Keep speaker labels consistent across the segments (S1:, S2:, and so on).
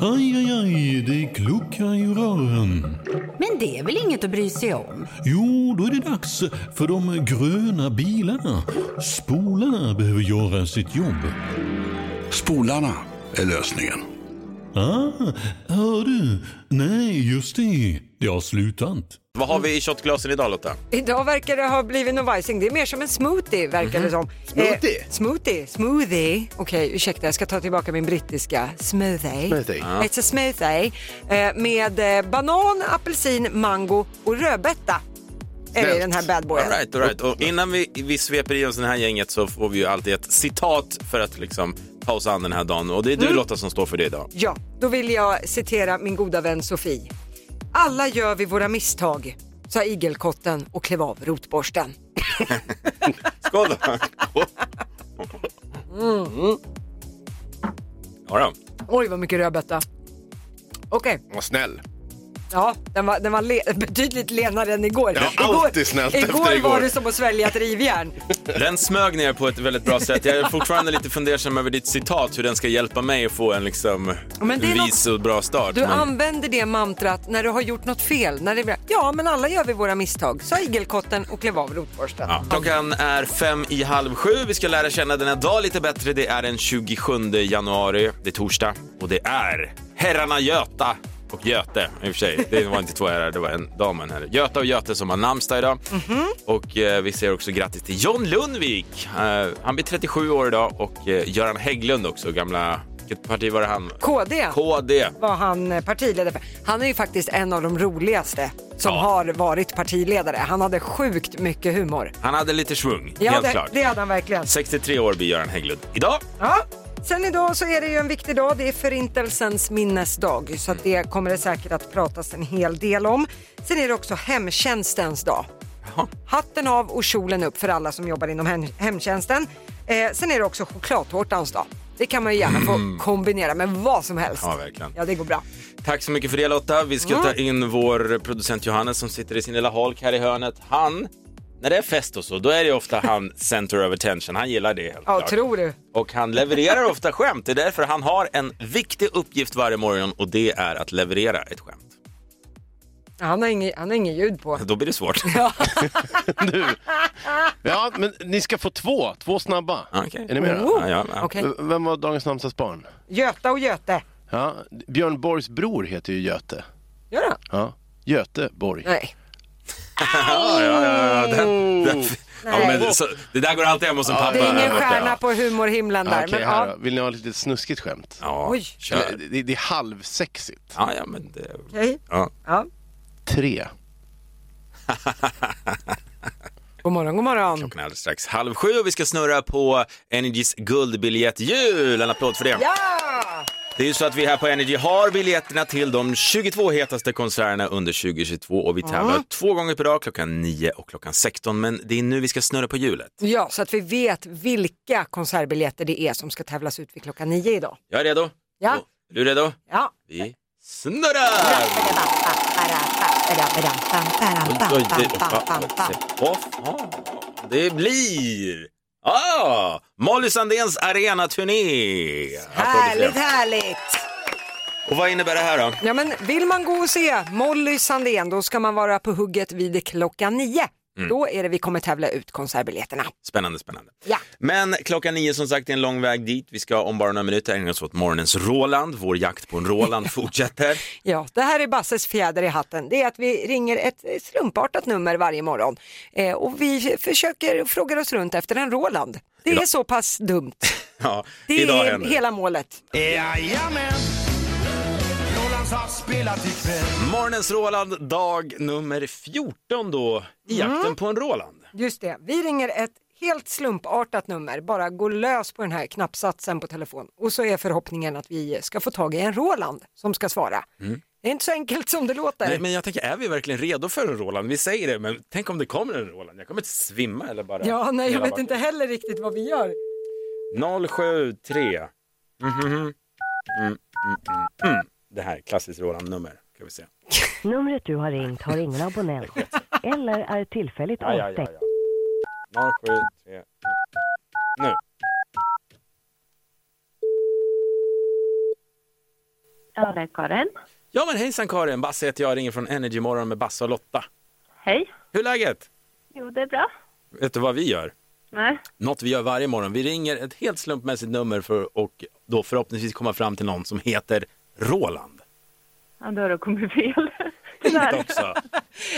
S1: Aj, aj, aj, det kluckar i rören.
S2: Men det är väl inget att bry sig om?
S1: Jo, då är det dags för de gröna bilarna. Spolarna behöver göra sitt jobb.
S3: Spolarna är lösningen.
S1: Ah, hör du? Nej, just det. Det har slutat.
S4: Vad har vi i shotglasen idag Lotta?
S5: Idag verkar det ha blivit någon vajsing. Det är mer som en smoothie verkar det som. Eh,
S6: Smoothie?
S5: smoothie? Smoothie. Okej, ursäkta jag ska ta tillbaka min brittiska. Smoothie.
S6: Smoothie.
S5: It's a smoothie. Eh, med eh, banan, apelsin, mango och rödbeta. Är det i den här bad boyen.
S4: All right, all right. Och innan vi, vi sveper i oss det här gänget så får vi ju alltid ett citat för att liksom ta oss an den här dagen. Och det är du Lotta som står för det idag.
S5: Ja, då vill jag citera min goda vän Sofie. Alla gör vi våra misstag, sa igelkotten och klev av rotborsten.
S4: Skål då! Mm. Ja, då.
S5: Oj, vad mycket rödbeta. Okej,
S6: Vad snäll.
S5: ja, den var, den var le- betydligt lenare än igår.
S6: Ja, alltid snällt efter
S5: igår var
S6: igår.
S5: det som att svälja ett rivjärn.
S4: Den smög ner på ett väldigt bra sätt. Jag är fortfarande lite fundersam över ditt citat, hur den ska hjälpa mig att få en liksom
S5: Men det är
S4: vis och bra start.
S5: Du
S4: Men-
S5: använder det mantrat när du har gjort något fel. När det blir, ja, men alla gör vi våra misstag, sa igelkotten och klev av rotborsten.
S4: Ja. Klockan är fem i halv sju. Vi ska lära känna denna dag lite bättre. Det är den 27 januari, det är torsdag och det är herrarna Göta och Göte. I och för sig, det var inte två herrar, det var en dam och en herre. Göta och Göte som har namnsdag idag.
S5: Mhm.
S4: Och eh, vi säger också grattis till John Lundvik. Eh, han blir 37 år idag och eh, Göran Hägglund också, gamla... Vilket parti var det han?
S5: KD.
S4: KD.
S5: var han eh, partiledare för. Han är ju faktiskt en av de roligaste som
S4: Ja.
S5: har varit partiledare. Han hade sjukt mycket humor.
S4: Han hade lite svung,
S5: Ja,
S4: helt
S5: det,
S4: klart.
S5: det hade han verkligen.
S4: 63 år blir Göran Hägglund idag.
S5: Ja. Sen idag så är det ju en viktig dag, det är förintelsens minnesdag, så att det kommer det säkert att pratas en hel del om. Sen är det också hemtjänstens dag.
S4: Jaha.
S5: Hatten av och kjolen upp för alla som jobbar inom hem- hemtjänsten. Eh, sen är det också chokladtårtans dag. Det kan man ju gärna få kombinera med vad som helst.
S4: Mm. Ja, verkligen.
S5: Ja, det går bra.
S4: Tack så mycket för det Lotta. Vi
S5: Mm.
S4: ska ta in vår producent Johannes som sitter i sin lilla holk här i hörnet. Han, när det är fest och så, då är det ofta han center of attention. Han gillar det helt
S5: Ja,
S4: klart.
S5: tror du?
S4: Och han levererar ofta skämt. Det är därför han har en viktig uppgift varje morgon och det är att leverera ett skämt.
S5: Han har inget, han har inget ljud på.
S4: Då blir det svårt.
S6: Ja, men ni ska få två. Två snabba.
S4: Ah, Okej.
S6: Är ni med? då?
S4: Ja,
S5: Oh,
S4: ja, ja.
S5: okej.
S6: V- Vem var dagens namnsdagsbarn?
S5: Göta och Göte.
S6: Ja, Björn Borgs bror heter ju Göte.
S5: Gör han?
S6: Ja. Göte Borg.
S5: Nej.
S4: Ja, ja, ja, ja. Den, den, ja, men, så, det där går alltid hem hos en pappa.
S5: Det är ingen
S4: där borta,
S5: stjärna
S4: ja.
S5: på humorhimlen där.
S6: Ja, Okej,
S5: men,
S6: här
S5: ja,
S6: då. Vill ni ha ett litet snuskigt skämt?
S4: Ja,
S5: Oj.
S4: kör.
S6: Eller, det, det är halvsexigt.
S4: Ja, ja, men det...
S5: okej.
S4: Ja.
S5: Ja.
S6: Tre.
S5: God morgon, god morgon.
S4: Klockan är alldeles strax halv sju och vi ska snurra på Energys guldbiljetthjul. En applåd för det.
S5: Ja!
S4: Det är ju så att vi här på Energy har biljetterna till de 22 hetaste konserterna under 2022 och vi tävlar två gånger per dag klockan 9 och klockan 16. Men det är nu vi ska snurra på hjulet.
S5: Ja, så att vi vet vilka konsertbiljetter det är som ska tävlas ut vid klockan nio idag.
S4: Jag är redo.
S5: Ja.
S4: Och, Är du redo?
S5: Ja.
S4: Vi snurrar! Oj, oj, det, oj, va- va- se- vad fan? det blir... Ah, Molly Sandéns arenaturné!
S5: Härligt, härligt!
S4: Och vad innebär det här då?
S5: Ja, men vill man gå och se Molly Sandén, då ska man vara på hugget vid klockan nio.
S4: Mm.
S5: Då är det vi kommer tävla ut konsertbiljetterna.
S4: Spännande, spännande.
S5: Ja.
S4: Men klockan nio som sagt är en lång väg dit. Vi ska om bara några minuter ägna oss åt morgonens Roland. Vår jakt på en Roland fortsätter.
S5: Ja, det här är Basses fjäder i hatten. Det är att vi ringer ett slumpartat nummer varje morgon eh, och vi försöker fråga oss runt efter en Roland. Det är så pass dumt.
S4: Ja,
S5: Det
S4: idag
S5: är
S4: händer
S5: hela målet.
S7: Jajamän! Rolands har spelat ikväll.
S4: Morgonens Roland, dag nummer 14 då i
S5: Mm.
S4: jakten på en Roland.
S5: Just det, vi ringer ett helt slumpartat nummer, bara gå lös på den här knappsatsen på telefon och så är förhoppningen att vi ska få tag i en Roland som ska svara. Det är inte så enkelt som det låter.
S4: Mm. Nej, men jag tänker, är vi verkligen redo för en Roland? Vi säger det, men tänk om det kommer en Roland? Jag kommer inte svimma eller bara...
S5: Ja, nej, jag
S4: hela
S5: vet inte heller riktigt vad vi gör.
S4: backen. 073. Mhm. Mm, mm, mm, mm. Det här är klassiskt Roland-nummer. Ska vi se.
S8: Numret du har ringt har ingen abonnent eller är tillfälligt
S4: Ja, ja, ja,
S8: avstängt.
S4: ja. 073. Nu.
S9: Ja, det är Karin.
S4: Ja men hejsan Karin, Basse heter jag, ringer från Energy Morgon med Basse och Lotta.
S9: Hej.
S4: Hur är läget?
S9: Jo, det är bra.
S4: Vet du vad vi gör?
S9: Nej.
S4: Något vi gör varje morgon, vi ringer ett helt slumpmässigt nummer för och då förhoppningsvis komma fram till någon som heter Roland.
S9: Ja, då har du kommit fel.
S4: Också.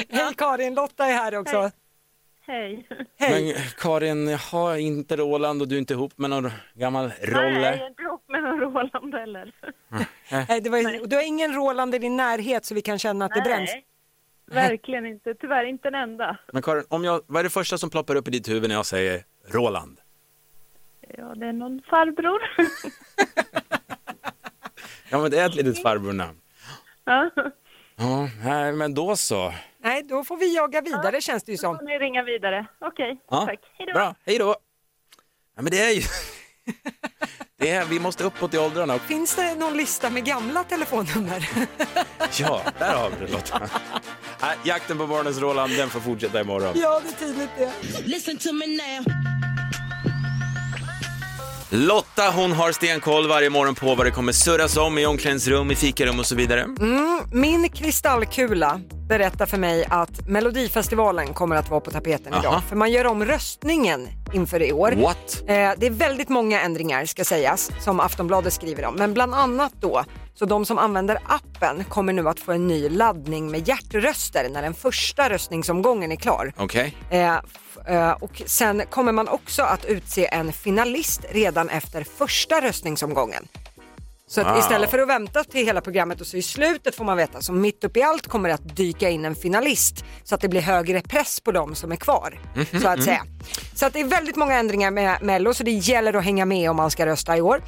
S5: Hej Karin, Lotta är här också.
S9: Hej.
S5: Hej.
S4: Men Karin, jag har inte Roland och du är inte ihop med någon gammal
S9: Nej, jag
S4: Rolle.
S9: är inte ihop med någon Roland heller.
S5: Nej, det var ju, och du har ingen Roland i din närhet så vi kan känna att det bränns.
S9: Verkligen inte. Tyvärr inte en enda.
S4: Men Karin, om jag, vad är det första som ploppar upp i ditt huvud när jag säger Roland?
S9: Ja, det är någon farbror.
S4: Ja men det är ett litet farbrornamn.
S9: ja.
S4: Ja, nej, men då så.
S5: Nej, då får vi jaga vidare känns det ju
S9: Då
S5: som.
S9: får ni ringa vidare. Okej,
S4: Ja,
S9: tack. Hej då.
S4: Bra, hej då. Ja, men det är ju... det är, vi måste uppåt i åldrarna. Och...
S5: Finns det någon lista med gamla telefonnummer?
S4: Ja, där har vi det Lotta. Nej, jakten på barnens Roland, den får fortsätta imorgon.
S5: ja, det är tydligt det.
S4: Lotta hon har stenkoll varje morgon på vad det kommer surras om i omklädningsrum, i fikarum och så vidare.
S5: Mm, Min kristallkula berättar för mig att Melodifestivalen kommer att vara på tapeten
S4: Aha.
S5: idag. För man gör om röstningen inför i år.
S4: What?
S5: Eh, Det är väldigt många ändringar ska sägas som Aftonbladet skriver om. Men bland annat då, så de som använder appen kommer nu att få en ny laddning med hjärtröster när den första röstningsomgången är klar.
S4: Okej.
S5: Eh, f- eh, och sen kommer man också att utse en finalist redan efter första röstningsomgången. Så att
S4: Wow.
S5: istället för att vänta till hela programmet och så i slutet får man veta, så mitt upp i allt kommer det att dyka in en finalist så att det blir högre press på de som är kvar. så att säga. Så att det är väldigt många ändringar med Mello så det gäller att hänga med om man ska rösta i år.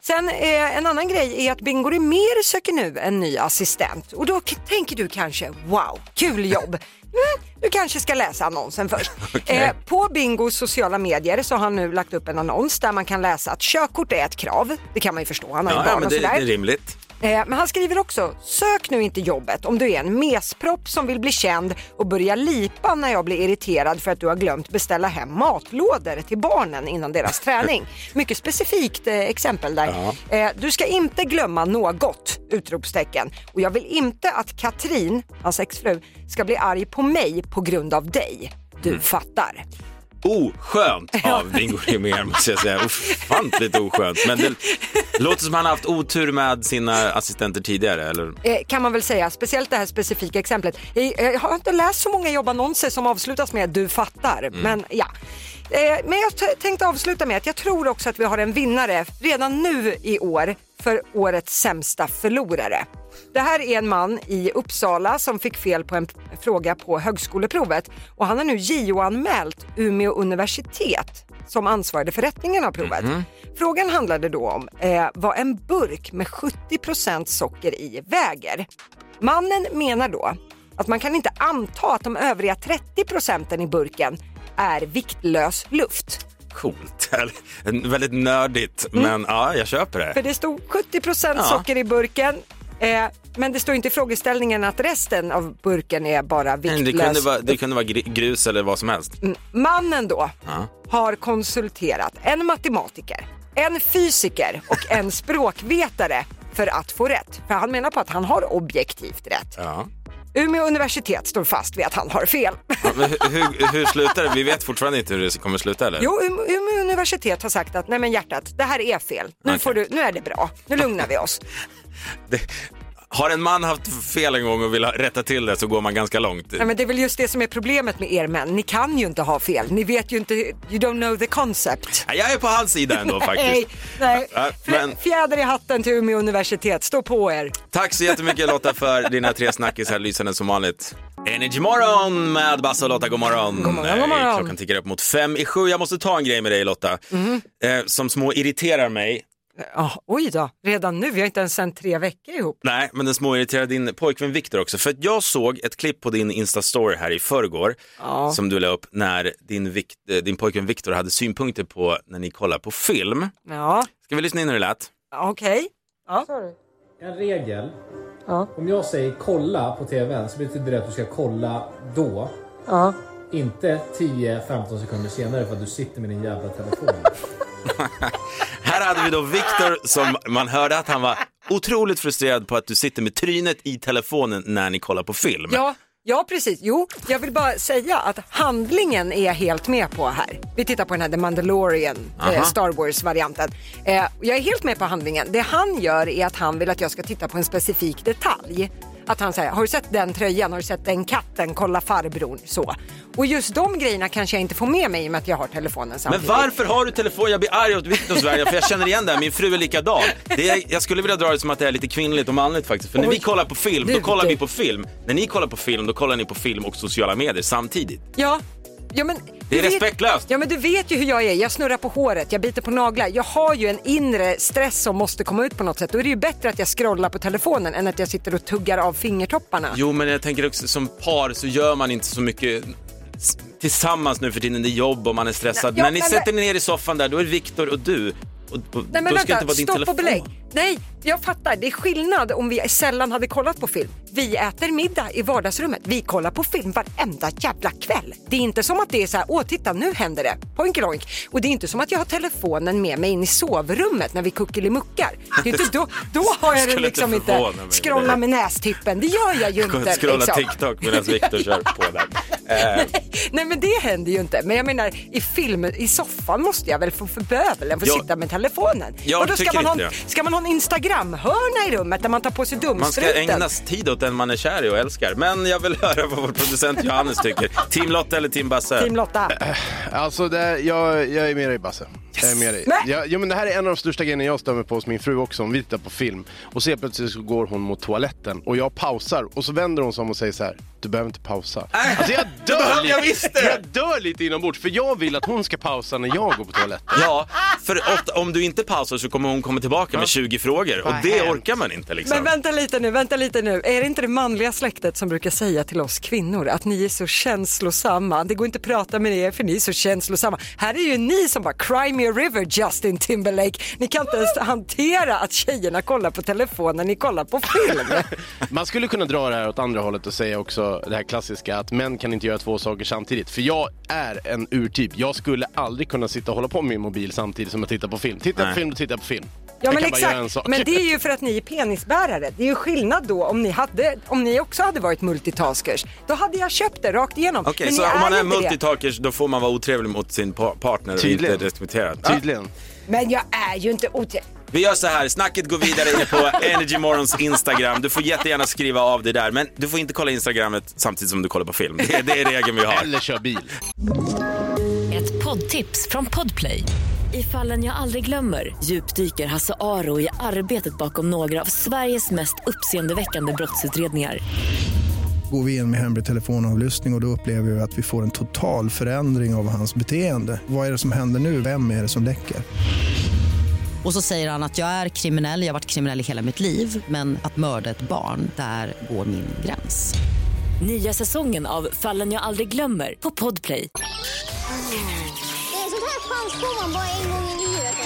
S5: Sen eh, en annan grej är att Bingo mer söker nu en ny assistent och då k- tänker du kanske wow, kul jobb. Mm, du kanske ska läsa annonsen först. Eh, på Bingos sociala medier så har han nu lagt upp en annons där man kan läsa att körkort är ett krav. Det kan man ju förstå, han har ju
S4: Ja, ja,
S5: barn
S4: men
S5: och
S4: det, det
S5: sådär.
S4: är rimligt.
S5: Eh, Men han skriver också, sök nu inte jobbet om du är en mespropp som vill bli känd och börja lipa när jag blir irriterad för att du har glömt beställa hem matlådor till barnen innan deras träning. Mycket specifikt eh, exempel där. Eh, Du ska inte glömma något! Utropstecken. Och jag vill inte att Katrin, hans exfru, ska bli arg på mig på grund av dig. Du
S4: Mm.
S5: fattar.
S4: oskönt av Bingo Rimér måste jag säga. Ofantligt oskönt. Men det låter som han har haft otur med sina assistenter tidigare. Eller?
S5: eh, kan man väl säga, speciellt det här specifika exemplet. Jag, jag har inte läst så många jobbannonser som avslutas med du fattar, men ja. Eh, Men jag t- tänkte avsluta med att jag tror också att vi har en vinnare redan nu i år för årets sämsta förlorare. Det här är en man i Uppsala som fick fel på en p- fråga på högskoleprovet och han har nu JO-anmält Umeå universitet som ansvarade för rättningen av provet.
S4: Mhm.
S5: Frågan handlade då om eh, vad en burk med 70 socker i väger. Mannen menar då att man kan inte anta att de övriga 30 procenten i burken är viktlös luft.
S4: Coolt. Eller, Väldigt nördigt, men ja, jag köper
S5: Mm. För
S4: det.
S5: det stod 70 procent
S4: Ja.
S5: socker i burken eh, men det står inte i frågeställningen att resten av burken är Mm. bara
S4: Men Det kunde,
S5: viktlös.
S4: vara, det kunde vara gr- grus eller vad som helst.
S5: Mannen då
S4: Ja.
S5: har konsulterat en matematiker, en fysiker och en språkvetare för att få rätt. För han menar på att han har objektivt rätt.
S4: Ja.
S5: Umeå universitet står fast vid att han har fel.
S4: Ja, Men hur, hur, hur slutar det? Vi vet fortfarande inte hur det kommer sluta eller?
S5: Jo, Ume- Umeå universitet har sagt att nej men hjärtat, det här är fel. Nu,
S4: Okej.
S5: får du, nu är det bra. Nu lugnar vi oss.
S4: Det, har en man haft fel en gång och vill ha- rätta till det så går man ganska långt.
S5: Nej, men det är väl just det som är problemet med er män. Ni kan ju inte ha fel. Ni vet ju inte, you don't know the concept.
S4: Nej, Jag är på hans sida ändå
S5: Nej,
S4: faktiskt.
S5: nej.
S4: Ja, Äh, men-
S5: Fjäder i hatten till Umeå universitet. Stå på er.
S4: Tack så jättemycket Lotta för dina tre snackisar, lysande som vanligt. Energy morgon med Basse och Lotta, god morgon. God
S5: morgon, god morgon.
S4: Klockan tickar upp mot fem i sju. Jag måste ta en grej med dig Lotta,
S5: Mm.
S4: eh, som små irriterar mig.
S5: Ja, oj då, redan nu? Vi har inte ens sänt tre veckor ihop.
S4: Nej, men den små irriterar din pojkvän Viktor också. För att jag såg ett klipp på din Insta-story här i förrgår
S5: Ja.
S4: som du la upp när din, Vikt- eh, din pojkvän Viktor hade synpunkter på när ni kollar på film.
S5: Ja,
S4: Ska vi lyssna in hur det lät?
S5: okej. Ja.
S10: En regel. Om jag säger kolla på TVn så betyder det att du ska kolla då. Inte 10-15 sekunder senare för att du sitter med din jävla telefon.
S4: Här hade vi då Viktor som man hörde att han var otroligt frustrerad på att du sitter med trynet i telefonen när ni kollar på film.
S5: Ja, ja, precis. Jo, jag vill bara säga att handlingen är jag helt med på här. Vi tittar på den här The Mandalorian, eh,
S4: Aha.
S5: Star Wars-varianten. Eh, jag är helt med på handlingen. Det han gör är att han vill att jag ska titta på en specifik detalj. Att han säger, har du sett den tröjan, har du sett den katten, kolla farbrorn, så. Och just de grejerna kanske jag inte får med mig i och med att jag har telefonen
S4: Men
S5: samtidigt.
S4: varför har du telefon? Jag blir arg åt Victor Sverige för jag känner igen det här. Min fru är likadan. Det är, jag skulle vilja dra det som att det är lite kvinnligt och manligt faktiskt. För när vi kollar på film, då
S5: du,
S4: kollar
S5: du.
S4: vi på film. När ni kollar på film, då kollar ni på film och sociala medier samtidigt.
S5: Ja. Ja, men,
S4: Det är
S5: du
S4: respektlöst.
S5: Vet, ja, men du vet ju hur jag är. Jag snurrar på håret, jag biter på naglar. Jag har ju en inre stress som måste komma ut på något sätt. Då är det ju bättre att jag scrollar på telefonen än att jag sitter och tuggar av fingertopparna.
S4: Jo, men jag tänker också som par så gör man inte så mycket s- tillsammans nu för tiden. Det är jobb och man är stressad.
S5: Nej, ja,
S4: när ni
S5: men-
S4: sätter er ner i soffan där, då är det Victor och du. Och, och,
S5: Nej men
S4: då ska
S5: vänta,
S4: inte vara din
S5: stopp
S4: telefon.
S5: och belägg. Nej, jag fattar. Det är skillnad om vi sällan hade kollat på film. Vi äter middag i vardagsrummet. Vi kollar på film varenda jävla kväll. Det är inte som att det är så här, åh titta nu händer det. Hoink roink. Och det är inte som att jag har telefonen med mig in i sovrummet när vi kuckelimuckar. Det är inte, då, då har
S4: Skulle
S5: jag den
S4: inte
S5: liksom inte.
S4: förvåna mig.
S5: Scrolla med nästippen, det gör jag ju
S4: Gå
S5: inte.
S4: och Scrolla
S5: liksom.
S4: TikTok medan Victor kör på där. Eh,
S5: Nej men det händer ju inte. Men jag menar i film, i soffan måste jag väl få för bövelen få
S4: Jag-
S5: sitta med telefonen.
S4: Jag
S5: Vadå,
S4: tycker
S5: ska, man ha,
S4: inte
S5: en- ska man ha en Instagram-hörna i rummet där man tar på sig
S4: Man ska
S5: dumstruten?
S4: ägna tid åt den man är kär i och älskar. Men jag vill höra vad vår producent Johannes tycker. Team Lotta eller Team Basse?
S5: Team Lotta.
S4: Äh,
S6: Alltså, det här, jag, jag är med dig Basse. Jag är med dig.
S5: Nej.
S6: Jag, jo, men det här är en av de största grejerna jag stämmer på hos min fru också. Om vi tittar på film och så helt plötsligt så går hon mot toaletten och jag pausar och så vänder hon sig om och säger så här. Du behöver inte pausa.
S5: Äh!
S6: Alltså jag dör,
S4: jag
S6: lite, jag dör lite inombords för jag vill att hon ska pausa när jag går på toaletten.
S4: Ja, för ofta, om du inte pausar så kommer hon komma tillbaka med 20 frågor och
S6: Vad
S4: det
S6: hemskt.
S4: orkar man inte liksom.
S5: Men vänta lite nu, vänta lite nu. Är det inte det manliga släktet som brukar säga till oss kvinnor att ni är så känslosamma? Det går inte att prata med er för ni är så känslosamma. Här är ju ni som bara cry me a river Justin Timberlake. Ni kan inte ens hantera att tjejerna kollar på telefonen, ni kollar på film.
S6: Man skulle kunna dra det här åt andra hållet och säga också det här klassiska att män kan inte göra två saker samtidigt. För jag är en urtyp. Jag skulle aldrig kunna sitta och hålla på med min mobil samtidigt som jag tittar på film. Tittar jag
S4: Nej.
S6: på film, då tittar jag på film.
S5: Ja
S6: jag
S5: men
S6: kan bara göra en
S5: exakt,
S6: sak.
S5: men det är ju för att ni är penisbärare. Det är ju skillnad då om ni, hade, om ni också hade varit multitaskers. Då hade jag köpt det rakt igenom.
S4: Okej,
S5: men
S4: så
S5: ni
S4: om man är
S5: inte det.
S4: multitalkers då får man vara otrevlig mot sin pa- partner och
S6: Tydligen.
S4: inte respektera. Ja.
S6: Tydligen.
S5: Men jag är ju inte otrevlig.
S4: Vi gör så här, snacket går vidare inne på Energy Morons Instagram. Du får jättegärna skriva av det där, men du får inte kolla Instagrammet samtidigt som du kollar på film. Det, det är regeln vi har.
S6: Eller kör bil.
S11: Ett poddtips från Podplay. I fallen jag aldrig glömmer djupdyker Hasse Aro i arbetet bakom några av Sveriges mest uppseendeväckande brottsutredningar.
S7: Går vi in med hemlig telefonavlyssning och, och då upplever vi att vi får en total förändring av hans beteende. Vad är det som händer nu? Vem är det som läcker?
S11: Och så säger han att jag är kriminell, jag har varit kriminell i hela mitt liv men att mörda ett barn, där går min gräns. Nya säsongen av Fallen jag aldrig glömmer på Podplay.
S7: Sånt här chans får man bara en gång i livet.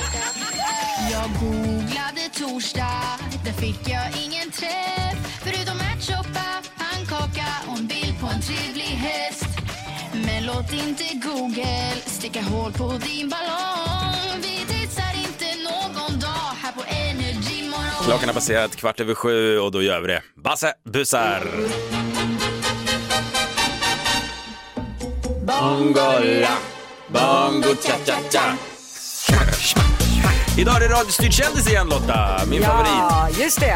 S7: Jag googlade torsdag, där fick jag ingen träff. Förutom ärtsoppa, pannkaka och en bild på en trevlig häst. Men låt inte Google sticka hål på din ballong. Vi dissar inte någon dag här på Energy Morgon.
S4: Klockan har passerat kvart över sju och då gör vi det. Basse busar! Bongola, bongo cha cha cha. Idag är det radiostyrd kändis igen Lotta, min favorit.
S5: Ja, just det.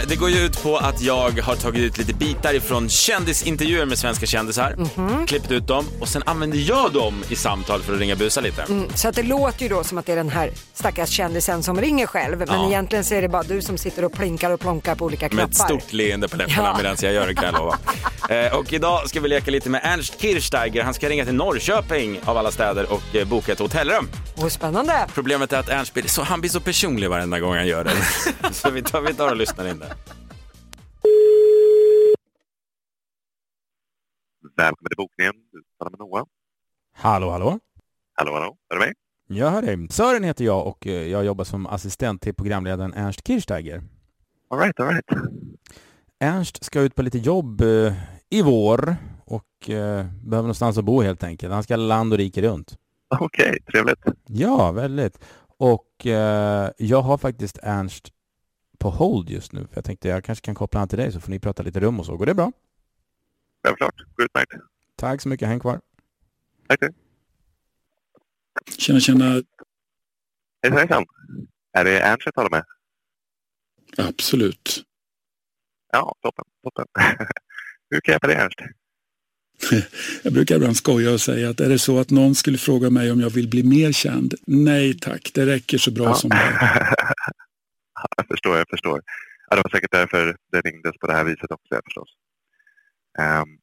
S4: Eh, Det går ju ut på att jag har tagit ut lite bitar ifrån kändisintervjuer med svenska kändisar, klippt ut dem och sen använder jag dem i samtal för att ringa busa lite.
S5: Mm, Så att det låter ju då som att det är den här stackars kändisen som ringer själv. Men
S4: Ja.
S5: egentligen så är det bara du som sitter och plinkar och plonkar på olika
S4: Med ett
S5: knappar.
S4: stort leende på läpparna
S5: Ja.
S4: medan jag gör det kan jag lova. Eh, och idag ska vi leka lite med Ernst Kirchsteiger. Han ska ringa till Norrköping av alla städer och eh, boka ett hotellrum.
S5: Och spännande.
S4: Problemet är att Ernst blir så, han blir så personlig varenda gång han gör det. så vi tar, vi tar och lyssnar in där.
S7: Välkommen till bokningen. Du talar med Noah.
S12: Hallå, hallå.
S7: Hallå, hallå. Är du med?
S12: Jag hör dig. Sören heter jag och eh, jag jobbar som assistent till programledaren Ernst Kirchsteiger.
S7: All right, all right.
S12: Ernst ska ut på lite jobb eh, i vår och eh, behöver någonstans att bo helt enkelt. Han ska land och rike runt.
S7: Okej, trevligt.
S12: Ja, väldigt. Och eh, jag har faktiskt Ernst på hold just nu. För jag tänkte jag kanske kan koppla an till dig så får ni prata lite rum och så. Går det bra?
S13: Självklart. Utmärkt.
S12: Tack så mycket, häng kvar.
S13: Tack, tack.
S14: Tjena, tjena.
S13: Hejsan, hejsan. Är det Ernst jag talar med?
S14: Absolut.
S13: Ja, toppen. toppen. Hur kan jag hjälpa dig, Ernst?
S14: Jag brukar ibland skoja och säga att är det så att någon skulle fråga mig om jag vill bli mer känd? Nej tack, det räcker så bra som det är.
S13: Jag förstår, jag förstår. Ja, det var säkert därför det ringdes på det här viset också, jag förstås. Ehm,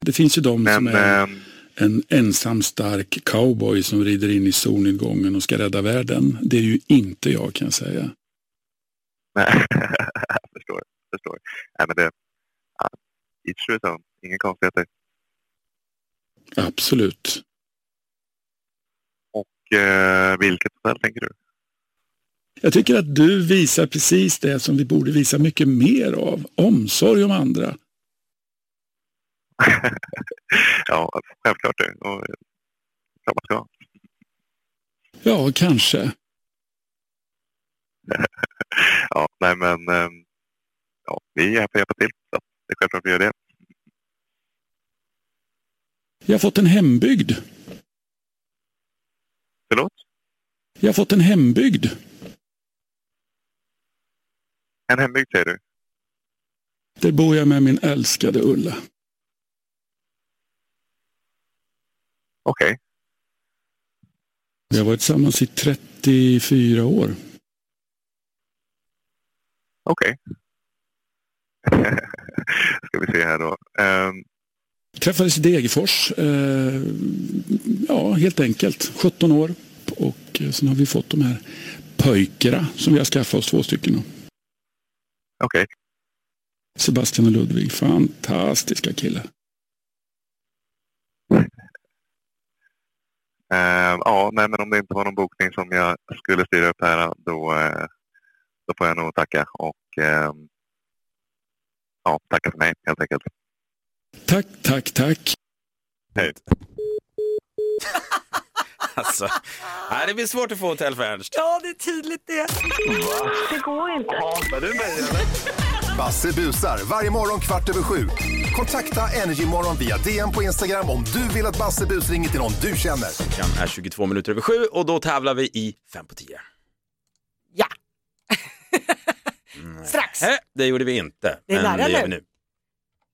S14: Det finns ju de som
S13: Men, ehm.
S14: är en ensam stark cowboy som rider in i solnedgången och ska rädda världen. Det är ju inte jag kan jag säga.
S13: nej, jag förstår, förstår. Nej, men det... Ja, each to his own. Inga konstigheter.
S14: Absolut.
S13: Och eh, vilket hotell tänker du?
S14: Jag tycker att du visar precis det som vi borde visa mycket mer av. Omsorg om andra.
S13: ja, självklart det. Och, eh, klart man ska. ha.
S14: Ja, kanske.
S13: ja, nej men... ehm, ja, vi är här för att hjälpa till. Så det är självklart vi gör det.
S14: Jag har fått en hembygd.
S13: Förlåt?
S14: Jag har fått en hembygd.
S13: En hembygd säger du?
S14: Där bor jag med min älskade Ulla.
S13: Okej.
S14: Vi har varit tillsammans i 34 år.
S13: Okej. ska vi se här då. Ehm,
S14: Träffades i Degerfors. Eh, ja, helt enkelt. 17 år. Och eh, sen har vi fått de här pojkarna som vi har skaffat oss, två stycken.
S13: Okej.
S14: Sebastian och Ludvig. Fantastiska killar.
S13: ehm, ja, nej men om det inte var någon bokning som jag skulle styra upp här då, eh, då får jag nog tacka och ehm, ja, tacka för mig helt enkelt.
S14: Tack, tack, tack.
S13: Hej.
S4: Alltså, nej, det blir svårt att få hotell för Ernst.
S5: Ja, det är tydligt det. Det går inte.
S15: Hatar du mig eller? Basse busar varje morgon kvart över sju. Kontakta Energymorgon via DM på Instagram om du vill att Basse bus ringer till någon du känner.
S4: Klockan är 22 minuter över sju och då tävlar vi i fem på tio.
S5: Ja.
S4: Mm.
S5: Strax.
S4: Nej, det gjorde vi inte.
S5: Det
S4: men
S5: är nära
S4: det gör vi
S5: nu.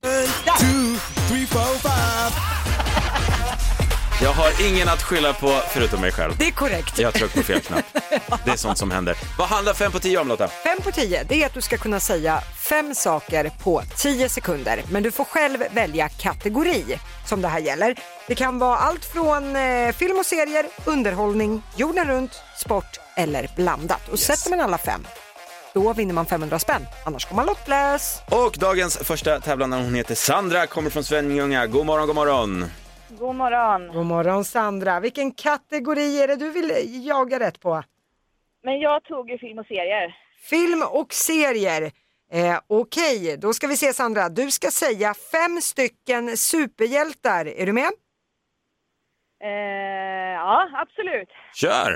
S4: nu.
S5: Two,
S15: three, four, five.
S4: Jag har ingen att skylla på förutom mig själv.
S5: Det är korrekt.
S4: Jag tryckte på fel knapp. Det är sånt som händer. Vad handlar fem på tio om Lotta?
S5: Fem på tio, det är att du ska kunna säga fem saker på tio sekunder. Men du får själv välja kategori som det här gäller. Det kan vara allt från eh, film och serier, underhållning, jorden runt, sport eller blandat. Och sätter man alla fem, då vinner man 500 spänn. Annars går man lottlös.
S4: Och dagens första tävlande, hon heter Sandra, kommer från Svenljunga. God morgon, god morgon.
S5: God morgon. God morgon Sandra. Vilken kategori är det du vill eh, jaga rätt på?
S9: Men jag tog ju film och serier.
S5: Film och serier. Eh, Okej, då ska vi se Sandra. Du ska säga fem stycken superhjältar. Är du med?
S9: Eh, ja, absolut.
S4: Kör!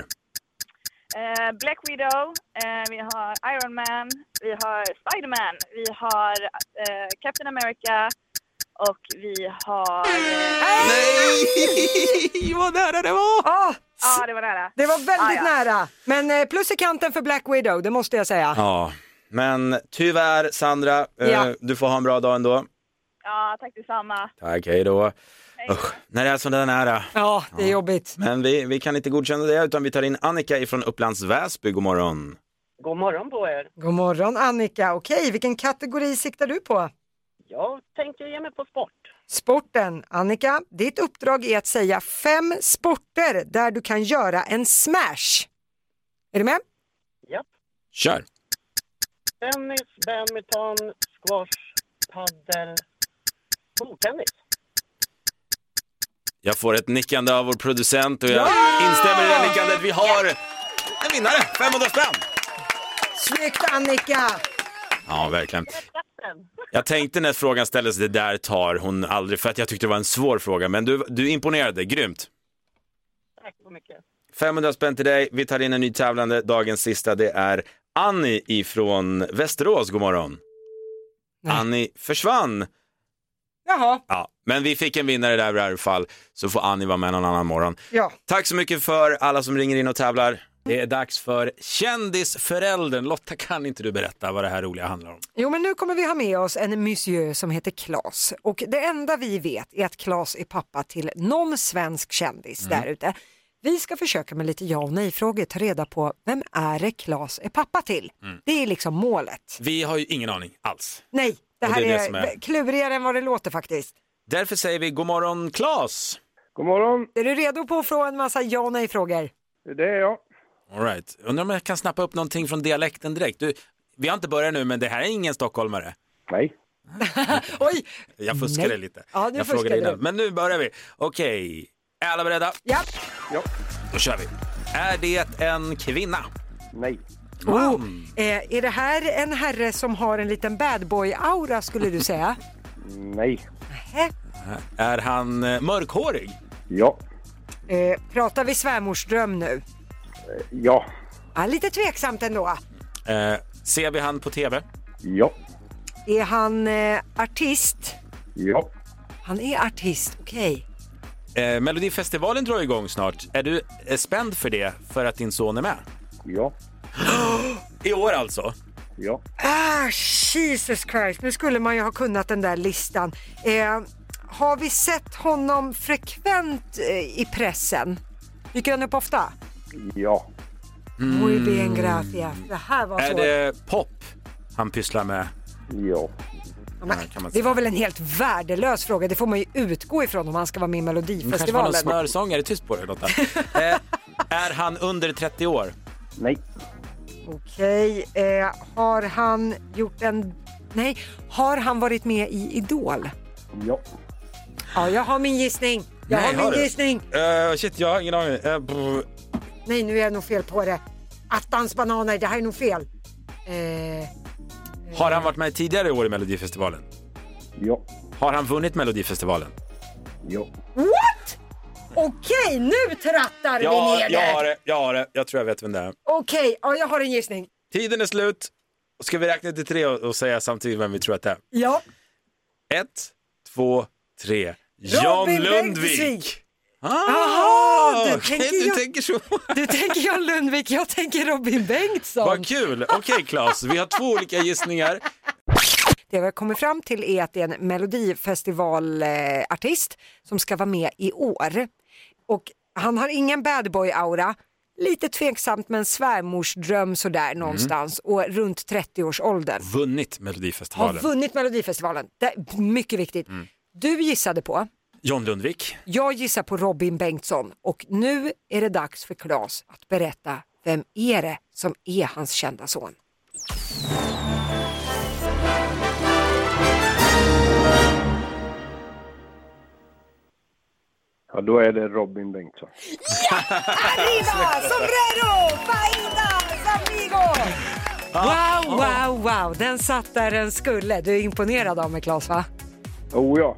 S9: Eh, Black Widow, eh, vi har Iron Man, vi har Spiderman, vi har eh, Captain America och vi har... eh,
S5: Nej! Vad nära det var! Ja,
S9: Ja, ah, det var nära.
S5: Ah, det var väldigt
S9: Ah, ja.
S5: nära. Men eh, plus i kanten för Black Widow, det måste jag säga.
S4: Ja, men tyvärr Sandra, eh,
S5: Ja.
S4: du får ha en bra dag ändå.
S9: Ja, tack detsamma.
S4: Tack, hej då. Usch, när det är eh. så där nära.
S5: Ja, det är jobbigt.
S4: Men vi, vi kan inte godkänna det utan vi tar in Annika ifrån Upplands Väsby. God morgon.
S16: God morgon på er.
S5: God morgon Annika. Okej, vilken kategori siktar du på?
S16: Jag tänker ge mig på sport.
S5: Sporten. Annika, ditt uppdrag är att säga fem sporter där du kan göra en smash. Är du med?
S16: Japp.
S4: Kör!
S16: Tennis, badminton, squash, paddel, bordtennis.
S4: Jag får ett nickande av vår producent och jag instämmer i det nickandet. Vi har en vinnare, 500 spänn!
S5: Snyggt Annika!
S4: Ja, verkligen. Jag tänkte när frågan ställdes, det där tar hon aldrig, för att jag tyckte det var en svår fråga. Men du, du imponerade, grymt.
S16: Tack så mycket.
S4: 500 spänn till dig. Vi tar in en ny tävlande. Dagens sista, det är Annie ifrån Västerås, god morgon. Annie försvann.
S5: Jaha,
S4: Ja, men vi fick en vinnare där i alla fall, så får Annie vara med någon annan morgon.
S5: ja.
S4: Tack så mycket för alla som ringer in och tävlar. Det är dags för Kändisföräldern. Lotta, kan inte du berätta vad det här roliga handlar om?
S5: Jo, men nu kommer vi ha med oss en monsieur som heter Klas. Och det enda vi vet är att Klas är pappa till någon svensk kändis
S17: Mm.
S5: där ute. Vi ska försöka med lite ja och nej-frågor ta reda på vem är det Klas är pappa till?
S4: Mm.
S5: Det är liksom målet.
S4: Vi har ju ingen aning alls.
S5: Nej, det
S4: Och
S5: här
S4: det är det
S5: är,
S4: som är-
S5: klurigare än vad det låter faktiskt.
S4: Därför säger vi god morgon Klas.
S5: God morgon. Är du redo på att få en massa ja och nej-frågor? Det är jag.
S4: All right. Undrar om jag kan snappa upp någonting från dialekten direkt. Du, vi har inte börjat nu, men det här är ingen stockholmare. Nej.
S5: Oj!
S4: Jag fuskade
S5: Nej.
S4: lite.
S5: Ja, nu
S4: jag frågade
S5: fuskade du.
S4: innan. Men nu börjar vi. Okej, är alla beredda?
S5: Ja.
S4: ja. Då kör vi. Är det en kvinna? Nej.
S5: Wow. Eh, är det här en herre som har en liten bad boy-aura skulle du säga?
S4: Nej.
S5: Hä?
S4: Är han eh, mörkhårig?
S18: Ja.
S5: Eh, pratar vi svärmorsdröm nu?
S18: Ja.
S5: Ja, lite tveksamt ändå.
S4: Eh, ser vi han på tv?
S18: Ja.
S5: Är han eh, artist?
S4: Ja.
S5: Han är artist, okej.
S4: Eh, Melodifestivalen drar igång snart. Är du eh, spänd för det, för att din son är med? Ja. I år alltså? Ja.
S5: Ah, Jesus Christ, nu skulle man ju ha kunnat den där listan. Eh, har vi sett honom frekvent eh, i pressen? Dyker han upp ofta? Mm.
S18: Ja.
S5: Muy bien, gracias. Det här var
S4: Mm. Är
S5: svårt.
S4: det pop han pysslar med? Ja. kan man
S5: Det
S4: säga.
S5: var väl en helt värdelös fråga, det får man ju utgå ifrån om han ska vara med i
S4: Det kanske var någon
S5: Melodifestivalen.
S4: smörsång. Är det tyst på dig Lotta? eh, är han under 30 år? Nej.
S5: Okej, eh, har han gjort en... Nej, har han varit med i Idol?
S4: Ja.
S5: Ja, jag har min gissning. Jag har min gissning.
S4: Uh, shit, jag har ingen aning. Eh, brr.
S5: Nej, nu är jag nog fel på det. Attans bananer, det här är nog fel. Eh,
S4: har han varit med tidigare i år i Melodifestivalen? Ja. Har han vunnit Melodifestivalen? Ja.
S5: what? Okej, nu trattar vi
S4: Ja,
S5: ner
S4: jag har
S5: det.
S4: det. Jag har det. Jag tror jag vet vem det är.
S5: Okej, ja, jag har en gissning.
S4: Tiden är slut. Ska vi räkna till tre och, och säga samtidigt vem vi tror att det är?
S5: Ja.
S4: Ett, två, tre.
S5: Robin
S4: Jan Lundvik!
S5: Bengtzvik.
S4: Ah,
S5: Jaha, du
S4: okej,
S5: tänker,
S4: du
S5: jag,
S4: tänker så.
S5: du tänker Jan Lundvik, jag tänker Robin Bengtsson.
S4: Vad kul! Okej Claes, vi har två olika gissningar.
S5: Det vi har kommit fram till är att det är en melodifestivalartist som ska vara med i år. Och han har ingen bad boy-aura, lite tveksamt men svärmorsdröm sådär någonstans och runt 30-årsåldern.
S4: Vunnit
S5: Har
S4: Melodifestivalen.
S5: vunnit Melodifestivalen, det är mycket viktigt.
S4: Mm.
S5: Du gissade på,
S4: John Lundvik.
S5: jag gissar på Robin Bengtsson och nu är det dags för Claes att berätta vem är det som är hans kända son?
S18: Ja, då är det Robin Bengtsson.
S5: Arriba, sombrero, fajitas, amigos! Wow, wow, wow, den satt där den skulle. Du är imponerad av mig Claes va?
S4: Oh ja,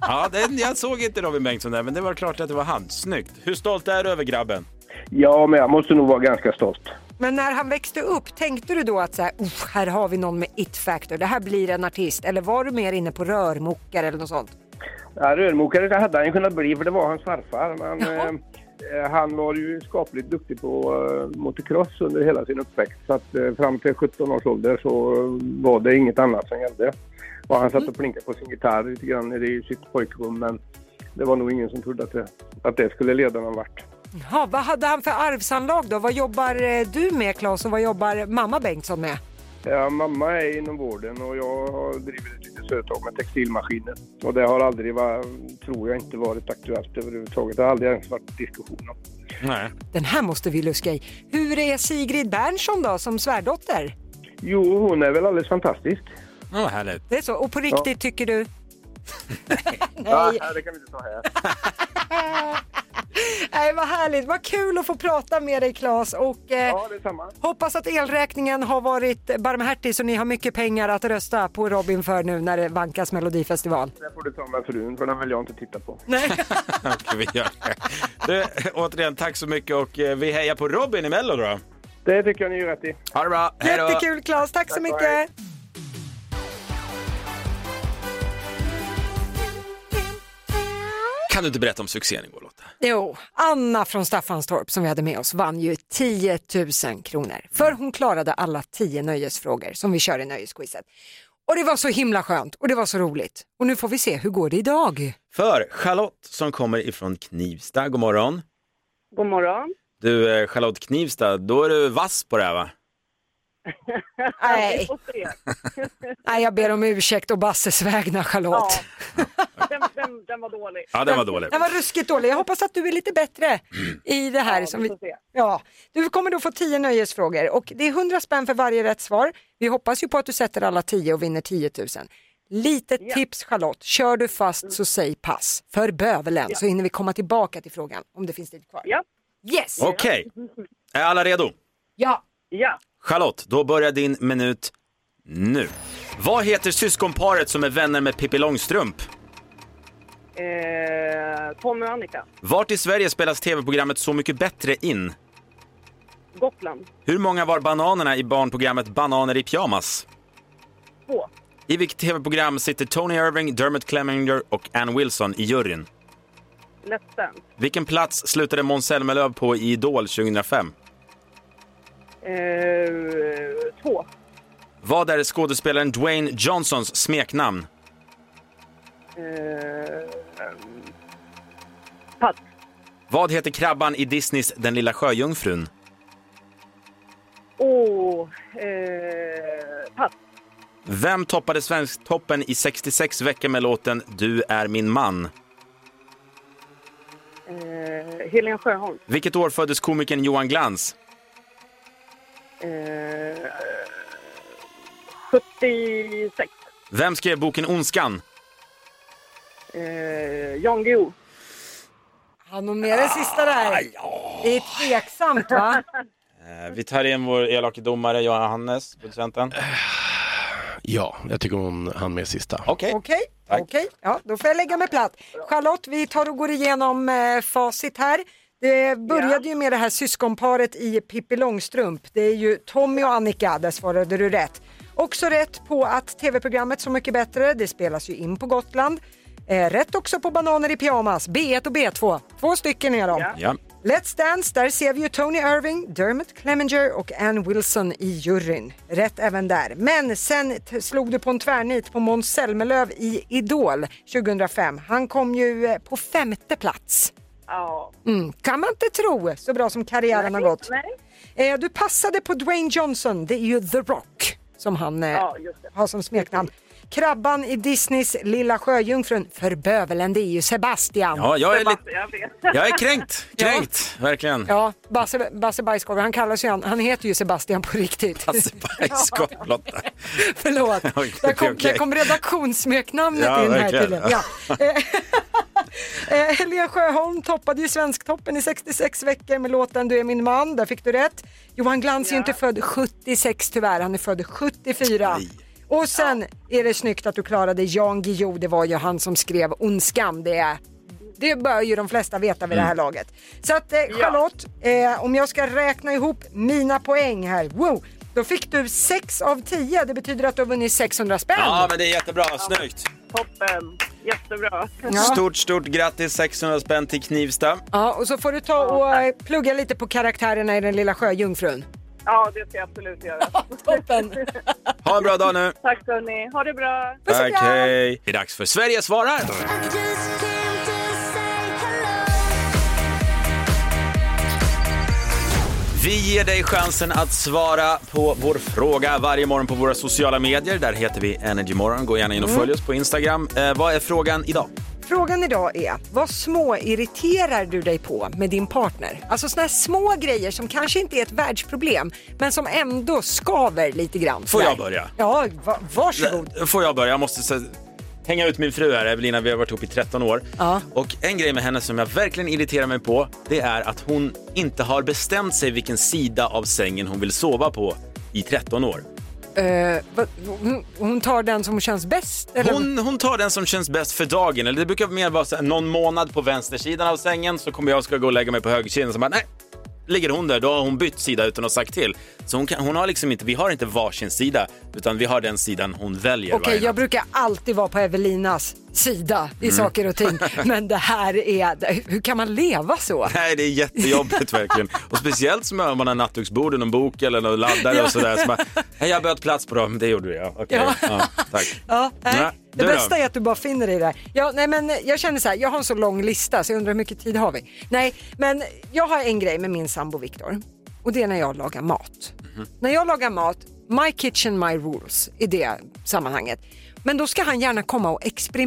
S4: ja. den, jag såg inte Robin Bengtsson där, men det var klart att det var han. Snyggt. Hur stolt är du över grabben?
S18: Ja, men jag måste nog vara ganska stolt.
S5: Men när han växte upp, tänkte du då att så här, "Uff, här har vi någon med it-factor, det här blir en artist. Eller var du mer inne på rörmokare eller något sånt?
S18: Ja, rörmokare det hade han ju kunnat bli, för det var hans farfar. Men eh, han var ju skapligt duktig på eh, motocross under hela sin uppväxt. Så att, eh, fram till 17 års ålder så eh, var det inget annat som gällde. Och han satt och plinkade på sin gitarr lite grann nere i sitt pojkrum, men det var nog ingen som trodde att det, att det skulle leda någon vart.
S5: Ja, vad hade han för arvsanlag då? Vad jobbar eh, du med Claes och vad jobbar mamma Bengtsson med?
S18: Ja, mamma är inom vården och jag har drivit ett litet företag med textilmaskiner. Och det har aldrig, va- tror jag, inte varit aktuellt överhuvudtaget. Det har aldrig ens varit diskussion om.
S4: Nej.
S5: Den här måste vi luska i. Hur är Sigrid Bernson då som svärdotter?
S18: Jo, hon är väl alldeles fantastisk.
S4: Ja, vad härligt.
S5: Det är så, och på
S18: Ja.
S5: riktigt tycker du?
S18: Nej. det kan vi inte ta här.
S5: Nej, vad härligt. Vad kul att få prata med dig, Claes. Och, eh, Hoppas att elräkningen har varit barmhärtig så ni har mycket pengar att rösta på Robin för nu när det vankas Melodifestival.
S18: Det får du ta med frun, för den vill jag inte titta på.
S4: Okej, vi gör det. Du, återigen, tack så mycket och eh, vi hejar på Robin i Mello då.
S18: Det tycker jag ni gör rätt i.
S4: Ha det bra. Hej då.
S5: Jättekul Claes, tack så
S18: Tack och
S5: mycket.
S4: Kan du inte berätta om succén igår Lotta?
S5: Jo, Anna från Staffanstorp som vi hade med oss vann ju 10 000 kronor. För hon klarade alla 10 nöjesfrågor som vi kör i nöjesquizet. Och det var så himla skönt och det var så roligt. Och nu får vi se, hur går det idag?
S4: För Charlotte som kommer ifrån Knivsta, god morgon.
S17: God morgon.
S4: Du eh, Charlotte Knivsta, då är du vass på det här va?
S5: Nej. Nej, jag ber om ursäkt och Basses vägnar Charlotte.
S9: Den, den, den var dålig.
S4: Ja, den var dålig.
S5: Den var ruskigt dålig. Jag hoppas att du är lite bättre i det här. som vi... ja. Du kommer då få 10 nöjesfrågor och det är 100 spänn för varje rätt svar. Vi hoppas ju på att du sätter alla 10 och vinner 10 000. Litet tips Charlotte, kör du fast så säg pass för bövelen så hinner vi komma tillbaka till frågan om det finns tid kvar.
S9: Ja.
S5: Yes!
S4: Okej, är alla redo?
S5: Ja.
S9: Ja.
S4: Charlotte, då börjar din minut nu. Vad heter syskonparet som är vänner med Pippi Långstrump?
S9: Eh, Tommy och Annika.
S4: Vart i Sverige spelas tv-programmet Så mycket bättre in?
S9: Gotland.
S4: Hur många var bananerna i barnprogrammet Bananer i pyjamas?
S9: Två.
S4: I vilket tv-program sitter Tony Irving, Dermot Clemenger och Ann Wilson i juryn?
S9: Let's Dance.
S4: Vilken plats slutade Måns Zelmerlöw på i Idol 2005?
S9: Eh, två.
S4: Vad är skådespelaren Dwayne Johnsons smeknamn?
S9: Eh, pass.
S4: Vad heter krabban i Disneys Den lilla sjöjungfrun?
S9: Åh, eh, pass.
S4: Vem toppade Svensktoppen i 66 veckor med låten Du är min man?
S9: Eh, Helen Sjöholm.
S4: Vilket år föddes komikern Johan Glans?
S9: Eh, 76.
S4: Vem skrev boken Ondskan?
S9: Eh, Jan Guillou.
S5: Han och med den
S4: Ah,
S5: sista där. Det är tveksamt va?
S4: Eh, vi tar in vår elake domare Johannes, producenten.
S6: Ja, jag tycker hon hann med sista.
S4: Okej.
S5: Okej,
S6: Tack.
S5: okej. Ja, då får jag lägga mig platt. Charlotte, vi tar och går igenom eh, facit här. Det började ju med det här syskonparet i Pippi Långstrump. Det är ju Tommy och Annika, där svarade du rätt. Också rätt på att tv-programmet Så mycket bättre, det spelas ju in på Gotland. Eh, rätt också på Bananer i pyjamas, B1 och B2. Två stycken är de.
S4: Ja.
S5: Let's Dance, där ser vi ju Tony Irving, Dermot Clemenger och Ann Wilson i juryn. Rätt även där. Men sen t- slog du på en tvärnit på Måns Zelmerlöw i Idol 2005. Han kom ju eh, på femte plats.
S9: Ja.
S5: Mm, kan man inte tro, så bra som karriären har gått.
S9: Nej.
S5: Eh, du passade på Dwayne Johnson, det är ju The Rock som han eh,
S9: Ja, just det.
S5: har som smeknamn. Krabban i Disneys Lilla Sjöjungfrun, för bövelen, det är ju Sebastian.
S4: Ja, jag är
S5: Seba-
S4: lite- Jag är kränkt, kränkt, verkligen.
S5: Ja, Basse, Basse Bajskorv, han kallas ju han, han heter ju Sebastian på riktigt.
S4: Basse Bajskorv, Lotta.
S5: Förlåt,
S4: Okej,
S5: där kom,
S4: okej.
S5: där kom redaktionssmeknamnet
S4: Ja,
S5: in här
S4: verkligen.
S5: tydligen. Ja. Eh, Helena Sjöholm toppade ju Svensktoppen i 66 veckor med låten Du är min man, där fick du rätt. Johan Glans är ju inte född 76 tyvärr, han är född 74. Och sen är det snyggt att du klarade Jan Guillou, det var ju han som skrev Ondskan, det är det bör ju de flesta veta vid det här
S11: Mm.
S5: laget. Så att eh, Charlotte, eh, om jag ska räkna ihop mina poäng här, wow, då fick du 6 av 10. Det betyder att du har vunnit 600 spänn.
S4: Ja, men det är jättebra, snyggt.
S9: Toppen. Jättebra.
S4: Stort, stort grattis, 600 spänn till Knivsta.
S5: Ja, och så får du ta och eh, plugga lite på karaktärerna i den lilla sjöjungfrun.
S9: Ja, det ska jag absolut göra.
S5: Toppen.
S4: Ha en bra dag nu.
S9: Tack hörni. Ha det bra.
S4: Tack, hej. Det är dags för Sverige svarar. Vi ger dig chansen att svara på vår fråga varje morgon på våra sociala medier. Där heter vi Energymorgon. Gå gärna in och
S5: Mm.
S4: följ oss på Instagram. Eh, vad är frågan idag?
S5: Frågan idag är, vad små irriterar du dig på med din partner? Alltså såna här små grejer som kanske inte är ett världsproblem, men som ändå skaver lite grann.
S4: Får jag
S5: Sådär.
S4: börja?
S5: Ja, va- varsågod.
S4: Får jag börja? Jag måste så, hänga ut min fru här, Evelina. Vi har varit ihop i 13 år. Och en grej med henne som jag verkligen irriterar mig på, det är att hon inte har bestämt sig vilken sida av sängen hon vill sova på i 13 år.
S5: Eh, vad- hon, hon tar den som känns bäst? Eller?
S4: Hon, hon tar den som känns bäst för dagen. Eller det brukar mer vara så här, någon månad på vänstersidan av sängen så kommer jag och ska gå och lägga mig på högersidan. Så bara, nej, ligger hon där, då har hon bytt sida utan att ha sagt till. Så hon, kan, hon har liksom inte, vi har inte varsin sida, utan vi har den sidan hon väljer
S5: Okej,
S4: varje natt.
S5: jag brukar alltid vara på Evelinas sida i
S4: Mm.
S5: saker och ting. Men det här är, hur kan man leva så?
S4: Nej, det är jättejobbigt verkligen. Och speciellt som man har nattduksbord och någon bok eller någon laddare
S5: Ja.
S4: och sådär. Så bara, "Hej, jag har bytt plats på dem, det gjorde jag. Okej,
S5: Ja.
S4: ja. tack.
S5: Ja, nej.
S4: Nej,
S5: Det
S4: du då?
S5: bästa är att du bara finner dig där. Ja, nej, men jag känner så här, jag har en så lång lista så jag undrar hur mycket tid har vi? Nej, men jag har en grej med min sambo Viktor och det är när jag lagar mat. När jag lagar mat, my kitchen, my rules i det sammanhanget. Men då ska han gärna komma och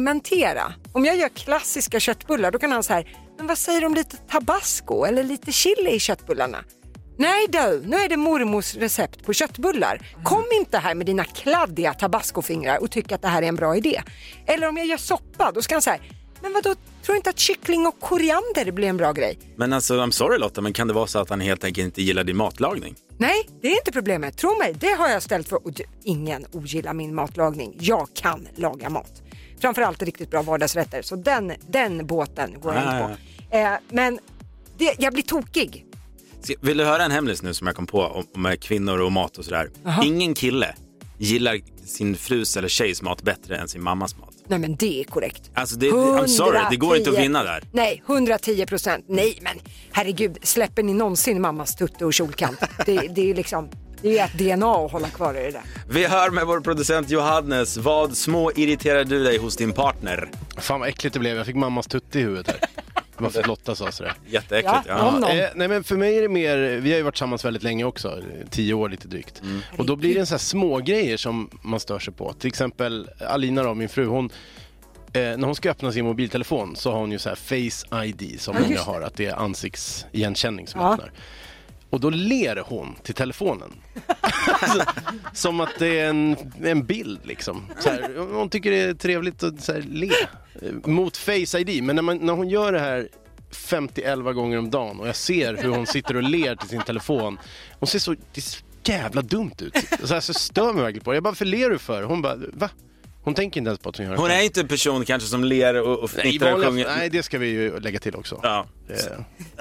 S5: experimentera. Om jag gör klassiska köttbullar då kan han så här, men vad säger du om lite tabasco eller lite chili i köttbullarna? Nej du, nu är det mormors recept på köttbullar. Kom inte här med dina kladdiga tabascofingrar och tyck att det här är en bra idé. Eller om jag gör soppa, då ska han säga, men vadå, tror du inte att kyckling och koriander blir en bra grej?
S4: Men alltså, I'm sorry Lotta, men kan det vara så att han helt enkelt inte gillar din matlagning?
S5: Nej, det är inte problemet. Tro mig, det har jag ställt för. Och du, ingen ogillar min matlagning. Jag kan laga mat. Framförallt riktigt bra vardagsrätter. Så den, den båten går jag
S4: Ah,
S5: inte på. Eh, men det, jag blir tokig.
S4: Ska- Vill du höra en hemlis nu som jag kom på om- om eh, kvinnor och mat och sådär? Ingen kille gillar sin frus eller tjejs mat bättre än sin mammas mat.
S5: Nej men det är korrekt.
S4: Alltså, det, I'm sorry, det går inte att
S5: 110.
S4: vinna där.
S5: Nej, 110 procent. Nej men herregud, släpper ni någonsin mammas tutte och kjolkant? Det, det är ju liksom, det är ju ett DNA att hålla kvar i det där.
S4: Vi hör med vår producent Johannes, vad små irriterar du dig hos din partner?
S6: Fan vad äckligt det blev, jag fick mammas tutte i huvudet här. Det var för att Lotta sa sådär.
S4: Jätteäckligt.
S6: Ja, eh, nej men för mig är det mer, vi har ju varit tillsammans väldigt länge också, eh, tio år lite drygt.
S17: Mm.
S6: Och då blir det en så här små grejer som man stör sig på. Till exempel Alina då, min fru, hon Eh, när hon ska öppna sin mobiltelefon så har hon ju så här Face ID som
S17: Ja,
S6: många
S17: just det.
S6: har, att det är ansiktsigenkänning som
S17: Ja.
S6: öppnar. Och då ler hon till telefonen. Alltså, som att det är en, en bild liksom. Så här, hon tycker det är trevligt att så här, le. Eh, Mot Face ID, men när, man, när hon gör det här 50-11 gånger om dagen och jag ser hur hon sitter och ler till sin telefon. Hon ser så, det ser så jävla dumt ut. Så, här, så stör mig verkligen på det. Jag bara, varför ler du för? Hon bara, va? Hon tänker inte ens på att hon gör det
S4: Hon är inte en person kanske som ler och, och
S6: Nej, i
S4: fnittrar och
S6: vanliga,
S4: sjunger.
S6: nej, det ska vi ju lägga till också.
S4: Ja.
S6: Eh,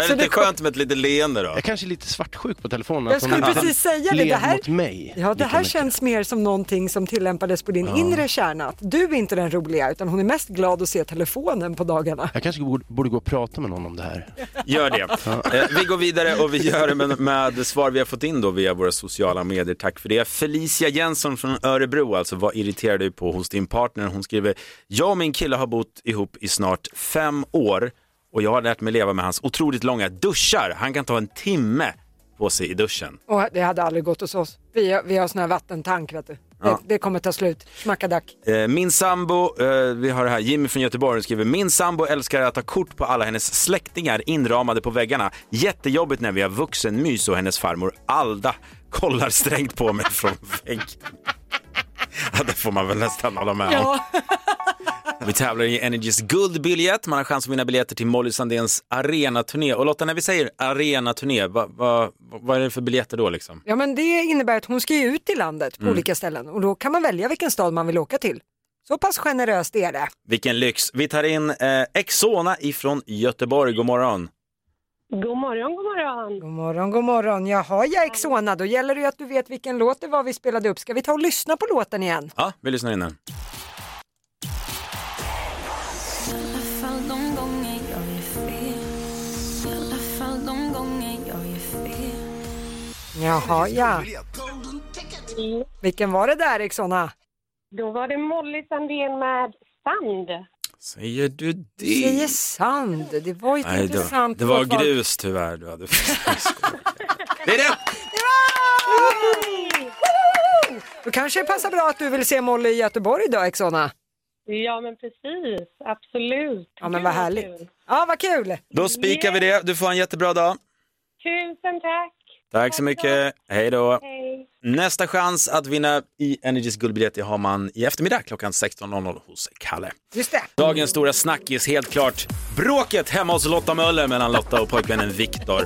S4: Är det inte skönt med ett litet leende då?
S6: Jag kanske är lite svartsjuk på telefonen.
S5: Jag
S6: att hon
S5: skulle
S6: inte
S5: precis säga det,
S6: ler
S5: det här-
S6: mot mig.
S5: Ja, det
S6: lika
S5: här
S6: mycket.
S5: känns mer som någonting som tillämpades på din
S6: Ja.
S5: inre kärna. Att Du är inte den roliga utan hon är mest glad att se telefonen på dagarna.
S6: Jag kanske borde, borde gå och prata med någon om det här.
S4: Gör det. Eh, vi går vidare och vi gör det med, med svar vi har fått in då via våra sociala medier. Tack för det. Felicia Jensson från Örebro, alltså vad irriterar du på hos din partner? Hon skriver, jag och min kille har bott ihop i snart fem år och jag har lärt mig leva med hans otroligt långa duschar. Han kan ta en timme på sig i duschen.
S5: Och det hade aldrig gått hos oss. Vi har, vi har sån här vattentank vet du. Det,
S4: Ja.
S5: det kommer ta slut. Smackadack.
S4: Eh, Min sambo, eh, vi har det här, Jimmy från Göteborg skriver, min sambo älskar att ta kort på alla hennes släktingar inramade på väggarna. Jättejobbigt när vi har vuxenmys och hennes farmor Alda kollar strängt på mig från väggen. Ja, det får man väl nästan hålla med om. Vi tävlar i Energys guldbiljett. Man har chans att vinna biljetter till Molly Sandéns arenaturné. Och Lotta, när vi säger arenaturné, vad va, va, vad är det för biljetter då liksom?
S5: Ja men det innebär att hon ska ju ut i landet på
S4: Mm.
S5: olika ställen och då kan man välja vilken stad man vill åka till. Så pass generöst är det.
S4: Vilken lyx. Vi tar in eh, Exona ifrån Göteborg. God morgon.
S5: God morgon, god morgon. God morgon, god morgon. Jaha ja Exona, då gäller det ju att du vet vilken låt det var vi spelade upp. Ska vi ta och lyssna på låten igen?
S4: Ja, vi lyssnar in den.
S7: I alla fall de gånger jag gör fel I alla fall de gånger jag gör fel
S5: Jaha ja. Vilken var det där Exona?
S19: Då var det Molly Sandén med Sand.
S4: Säger du det?
S5: Säger sand. Det var ju ett
S4: Nej, det, var,
S5: intressant
S4: det var
S5: låtval.
S4: grus tyvärr. Du hade... det är det!
S5: Woho! Då kanske det passar bra att du vill se Molly i Göteborg idag Exona.
S19: Ja, men precis. Absolut.
S5: Ja men
S19: Gud,
S5: vad härligt.
S19: kul.
S5: Ja vad kul.
S4: Då spikar vi det. Du får ha en jättebra dag.
S19: Tusen tack.
S4: Tack så mycket. Hej då.
S19: Hej.
S4: Nästa chans att vinna i Energys guldbiljett det har man i eftermiddag klockan 16.00 hos Kalle.
S5: Just det.
S4: Dagens stora snackis, helt klart bråket hemma hos Lotta Möller mellan Lotta och pojkvännen Viktor.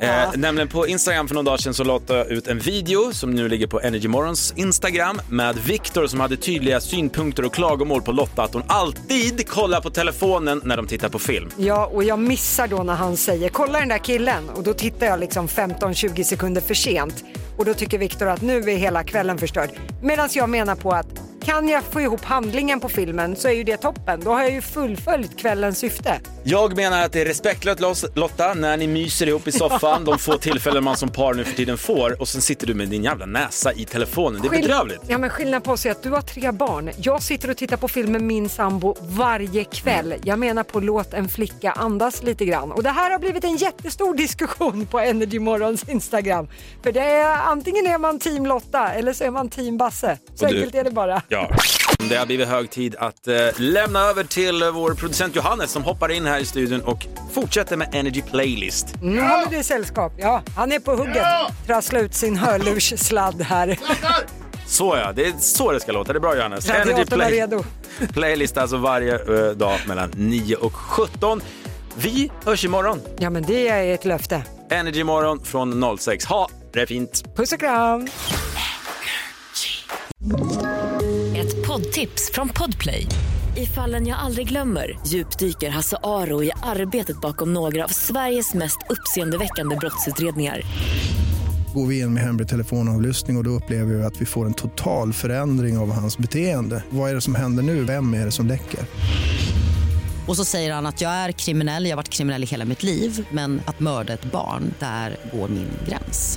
S4: Eh, nämligen på Instagram för någon dag sedan så la jag ut en video som nu ligger på Energy Morons Instagram med Viktor som hade tydliga synpunkter och klagomål på Lotta att hon alltid kollar på telefonen när de tittar på film.
S5: Ja, och jag missar då när han säger kolla den där killen och då tittar jag liksom 15-20 sekunder för sent och då tycker Viktor att nu är hela kvällen förstörd. Medan jag menar på att kan jag få ihop handlingen på filmen så är ju det toppen. Då har jag ju fullföljt kvällens syfte.
S4: Jag menar att det är respektlöst Los- Lotta när ni myser ihop i soffan, de få tillfällen man som par nu för tiden får och sen sitter du med din jävla näsa i telefonen. Det är
S5: Skill-
S4: bedrövligt.
S5: Ja, men skillnad på oss är att du har tre barn. Jag sitter och tittar på film med min sambo varje kväll.
S4: Mm.
S5: Jag menar på låt en flicka andas lite grann. Och det här har blivit en jättestor diskussion på Energy Morgons Instagram. För det är antingen är man team Lotta eller så är man team Basse. Så
S4: Och du-
S5: enkelt är det bara.
S4: Ja. Det har blivit hög tid att eh, lämna över till eh, vår producent Johannes som hoppar in här i studion och fortsätter med Energy Playlist.
S5: Nu håller du sällskap. Ja, han är på hugget. Trassla ut sin hörlurssladd här.
S4: Så ja, det är så det ska låta. Det är bra Johannes. Energy
S5: Radiatorn är
S4: Play-
S5: redo.
S4: Playlist alltså varje eh, dag mellan 9 och 17. Vi hörs imorgon.
S5: Ja, men det är ett löfte.
S4: Energy morgon från 06. Ha det fint.
S5: Puss och kram!
S11: Ett poddtips från Podplay. I fallen jag aldrig glömmer djupdyker Hasse Aro i arbetet bakom några av Sveriges mest uppseendeväckande brottsutredningar.
S17: Går vi in med hemlig telefonavlyssning och, och då upplever vi att vi får en total förändring av hans beteende. Vad är det som händer nu? Vem är det som läcker?
S11: Och så säger han att jag är kriminell, jag har varit kriminell i hela mitt liv men att mörda ett barn, där går min gräns.